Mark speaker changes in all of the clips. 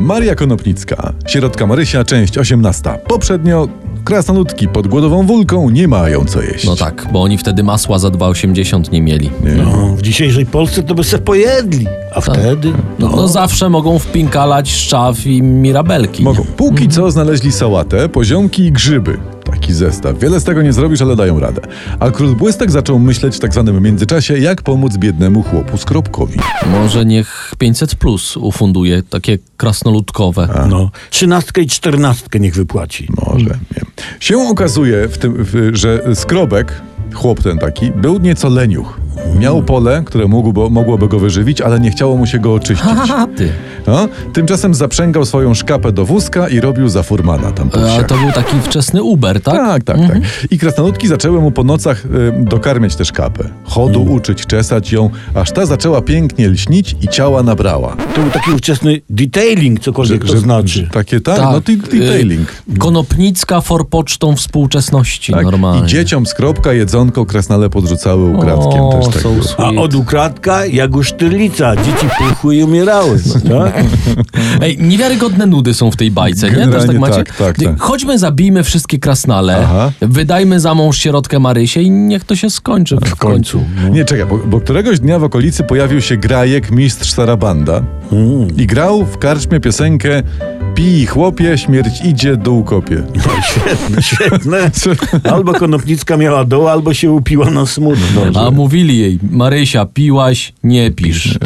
Speaker 1: Maria Konopnicka, sierotka Marysia, część 18. Poprzednio krasnoludki pod głodową wulką nie mają co jeść.
Speaker 2: No tak, bo oni wtedy masła za 2,80 nie mieli.
Speaker 1: Nie.
Speaker 3: No, w dzisiejszej Polsce to by se pojedli. A wtedy?
Speaker 2: No, no zawsze mogą wpinkalać szczaw i mirabelki.
Speaker 1: Mogą. Póki co znaleźli sałatę, poziomki i grzyby. Taki zestaw. Wiele z tego nie zrobisz, ale dają radę. A król błystek zaczął myśleć w tak zwanym międzyczasie, jak pomóc biednemu chłopu skropkowi.
Speaker 2: Może niech 500 plus ufunduje takie krasnoludkowe.
Speaker 3: No. Trzynastkę i czternastkę niech wypłaci.
Speaker 1: Może, nie. Się okazuje, w tym, w, że skrobek, chłop ten taki, był nieco leniuch. Miał pole, które mógłby, mogłoby go wyżywić, ale nie chciało mu się go oczyścić.
Speaker 2: Haha, ty.
Speaker 1: No, tymczasem zaprzęgał swoją szkapę do wózka i robił za furmana tam po
Speaker 2: A
Speaker 1: wsiach.
Speaker 2: to był taki wczesny Uber, tak?
Speaker 1: Tak, tak, tak. I krasnoludki zaczęły mu po nocach y, dokarmiać tę szkapę. Chodu
Speaker 2: Mhm.
Speaker 1: uczyć, czesać ją, aż ta zaczęła pięknie lśnić i ciała nabrała.
Speaker 3: To był taki ówczesny detailing, cokolwiek to
Speaker 1: Że-
Speaker 3: znaczy.
Speaker 1: Takie tak,
Speaker 2: Tak,
Speaker 1: no ty, ty
Speaker 2: y,
Speaker 1: detailing.
Speaker 2: Konopnicka forpocztą współczesności
Speaker 1: Tak. I
Speaker 2: normalnie.
Speaker 1: dzieciom skropka jedzonko krasnale podrzucały ukradkiem
Speaker 2: O,
Speaker 1: też tak.
Speaker 2: są
Speaker 1: było.
Speaker 3: A
Speaker 2: sweet.
Speaker 3: od ukradka jak u sztyrlica. Dzieci puchły i umierały.
Speaker 1: No,
Speaker 3: Tak?
Speaker 2: Ej, niewiarygodne nudy są w tej bajce, nie? Też tak
Speaker 1: Generalnie
Speaker 2: macie?
Speaker 1: tak, tak, tak.
Speaker 2: Chodźmy, zabijmy wszystkie krasnale,
Speaker 1: Aha.
Speaker 2: wydajmy za mąż sierotkę Marysię i niech to się skończy w końcu.
Speaker 1: Nie, czekaj, bo, bo któregoś dnia w okolicy pojawił się grajek mistrz Sarabanda i grał w karczmie piosenkę Pij chłopie, śmierć idzie, dół kopie.
Speaker 3: Świetne, No, świetne. Albo Konopnicka miała doła, albo się upiła na smutno.
Speaker 2: A mówili jej, Marysia, piłaś, nie pisz.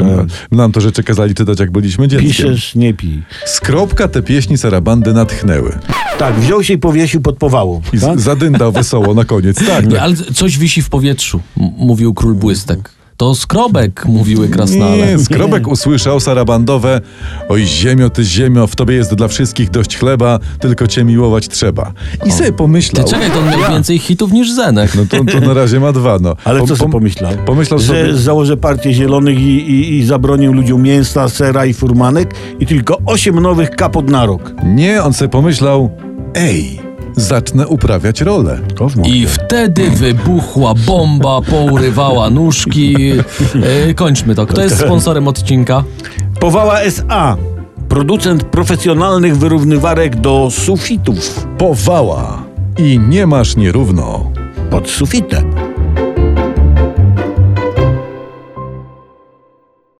Speaker 1: Nam to rzeczy kazali czytać, jak byliśmy dzieckiem.
Speaker 3: Piszesz, nie pij.
Speaker 1: Skropka te pieśni Sarabandy natchnęły.
Speaker 3: Tak, wziął się i powiesił pod powałą.
Speaker 1: I
Speaker 3: Tak?
Speaker 1: z- zadyndał wesoło na koniec. Tak,
Speaker 2: Nie,
Speaker 1: tak.
Speaker 2: ale coś wisi w powietrzu, m- mówił król błystek. To skrobek, mówiły krasnale.
Speaker 1: Nie, Skrobek usłyszał sarabandowe Oj ziemio, ty ziemio, w tobie jest dla wszystkich dość chleba, tylko cię miłować trzeba. I sobie
Speaker 2: Ty
Speaker 1: pomyślał...
Speaker 2: czekaj, to on miał więcej hitów niż Zenek.
Speaker 1: No to, to na razie ma dwa, no.
Speaker 3: Ale
Speaker 1: Pom-
Speaker 3: co
Speaker 1: pom-
Speaker 3: sobie pomyślał?
Speaker 1: Pomyślał
Speaker 3: że
Speaker 1: sobie...
Speaker 3: założę partię zielonych i, i, i zabronił ludziom mięsa, sera i furmanek i tylko osiem nowych kapot na rok.
Speaker 1: Nie, on sobie pomyślał... Ej, zacznę uprawiać rolę. no.
Speaker 2: I wtedy wybuchła bomba, pourywała nóżki. E, kończmy to. Kto jest
Speaker 1: No
Speaker 2: sponsorem odcinka?
Speaker 3: Powała SA. Producent profesjonalnych wyrównywarek do sufitów.
Speaker 1: Powała i nie masz nierówno.
Speaker 3: Pod sufitem.